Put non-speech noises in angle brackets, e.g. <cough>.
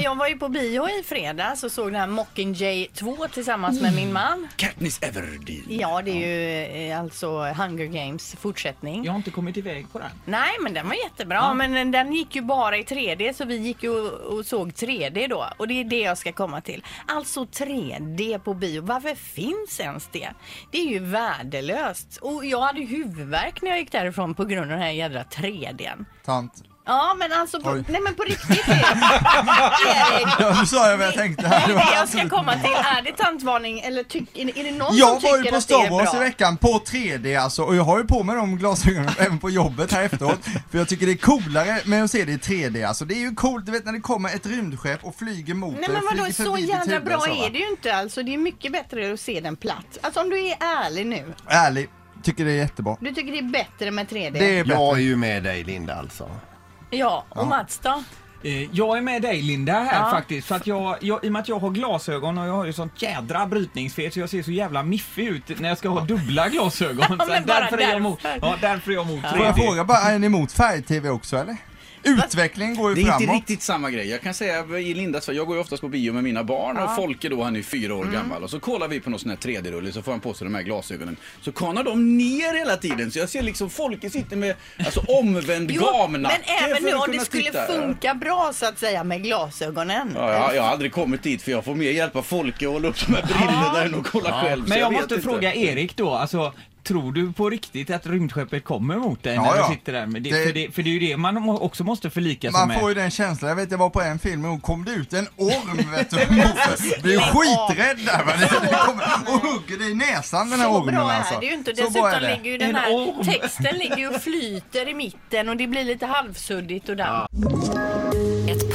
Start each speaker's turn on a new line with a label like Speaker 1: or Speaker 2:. Speaker 1: jag var ju på bio i fredags och såg den här Mockingjay 2 tillsammans med min man.
Speaker 2: Mm.
Speaker 3: Katniss Everdeen.
Speaker 1: Ja, det är ju eh, alltså Hunger Games fortsättning.
Speaker 2: Jag har inte kommit iväg på den.
Speaker 1: Nej, men den var jättebra. Men den- den gick ju bara i 3D, så vi gick ju och, och såg 3D då. Och det är det jag ska komma till. Alltså 3D på bio. Varför finns ens det? Det är ju värdelöst. Och jag hade ju huvudvärk när jag gick därifrån på grund av den här jädra 3Dn.
Speaker 4: Tant.
Speaker 1: Ja, men alltså på,
Speaker 4: Oj.
Speaker 1: nej, men på riktigt
Speaker 2: <laughs>
Speaker 1: Erik. Erik.
Speaker 4: Ja, nu sa jag vad jag tänkte
Speaker 1: Nej,
Speaker 4: här.
Speaker 1: det jag ska komma
Speaker 4: <laughs>
Speaker 1: till, är det tantvarning eller tyck, är är det någon
Speaker 4: Jag
Speaker 1: som
Speaker 4: var ju
Speaker 1: tycker
Speaker 4: på
Speaker 1: att det är
Speaker 4: Star
Speaker 1: bra?
Speaker 4: Wars i veckan, på 3D alltså, och jag har ju på mig de glasögonen <laughs> även på jobbet här efteråt. För jag tycker det är coolare med att se det i 3D alltså. Det är ju coolt, du vet när det kommer ett rymdskepp och flyger mot
Speaker 1: Nej
Speaker 4: dig
Speaker 1: men
Speaker 4: och
Speaker 1: vadå,
Speaker 4: flyger
Speaker 1: så
Speaker 4: förbi ditt
Speaker 1: jävla
Speaker 4: huvud,
Speaker 1: bra
Speaker 4: så, va?
Speaker 1: är det ju inte alltså. Det är mycket bättre att se den platt. Alltså om du är ärlig nu.
Speaker 4: Ärlig, tycker det är jättebra.
Speaker 1: Du tycker det är bättre med 3D?
Speaker 4: Det är bättre.
Speaker 3: Jag är ju med dig Linda alltså.
Speaker 1: Ja, och Mats då?
Speaker 2: Eh, Jag är med dig Linda här
Speaker 1: Ja.
Speaker 2: faktiskt. För att jag, jag, I och med att jag har glasögon och jag har ju sånt jädra brytningsfel så jag ser så jävla miffig ut när jag ska ha dubbla glasögon.
Speaker 1: men
Speaker 2: Så
Speaker 1: bara
Speaker 2: därför, är jag emot,
Speaker 1: därför.
Speaker 2: ja, därför är jag emot 3D.
Speaker 4: Får jag fråga bara, är ni emot färg-tv också eller? Utvecklingen går ju
Speaker 5: Det är
Speaker 4: framåt.
Speaker 5: inte riktigt samma grej. Jag kan säga i Lindas fall, jag går ju oftast på bio med mina barn och Folke då, han är fyra
Speaker 1: Mm.
Speaker 5: år gammal. Och så kollar vi på någon sån här 3D-rulle så får han på sig de här glasögonen. Så kanar de ner hela tiden så jag ser liksom Folke sitter med alltså, omvänd
Speaker 1: men
Speaker 5: gamnacke
Speaker 1: även
Speaker 5: för
Speaker 1: nu
Speaker 5: att
Speaker 1: om det
Speaker 5: kunna
Speaker 1: skulle
Speaker 5: titta.
Speaker 1: funka bra så att säga med glasögonen.
Speaker 5: Ja, jag, jag har aldrig kommit dit för jag får mer hjälpa Folke att hålla upp de här brillorna än att kolla själv. så
Speaker 2: Men jag
Speaker 5: vet
Speaker 2: måste
Speaker 5: inte.
Speaker 2: fråga Erik då, alltså Tror du på riktigt att rymdskeppet kommer mot dig
Speaker 4: Ja,
Speaker 2: när
Speaker 4: ja.
Speaker 2: du sitter där? Men det,
Speaker 4: Det-
Speaker 2: För, det, för det är ju det man må- också måste förlika sig
Speaker 4: Man
Speaker 2: med.
Speaker 4: får ju den känslan, jag vet jag var på en film och då kom det ut en
Speaker 1: <laughs>
Speaker 4: orm vet du.
Speaker 1: Alltså,
Speaker 4: Jag blev ju skiträdd där va. Den kommer och hugger dig i näsan den här
Speaker 1: Så
Speaker 4: ormen
Speaker 1: bra
Speaker 4: alltså.
Speaker 1: är det ju inte.
Speaker 4: Så bra
Speaker 1: Dessutom
Speaker 4: är det.
Speaker 1: ligger ju den
Speaker 2: En
Speaker 1: här
Speaker 2: orm.
Speaker 1: texten ligger ju och flyter i mitten och det blir lite halvsuddigt och där.
Speaker 6: Ett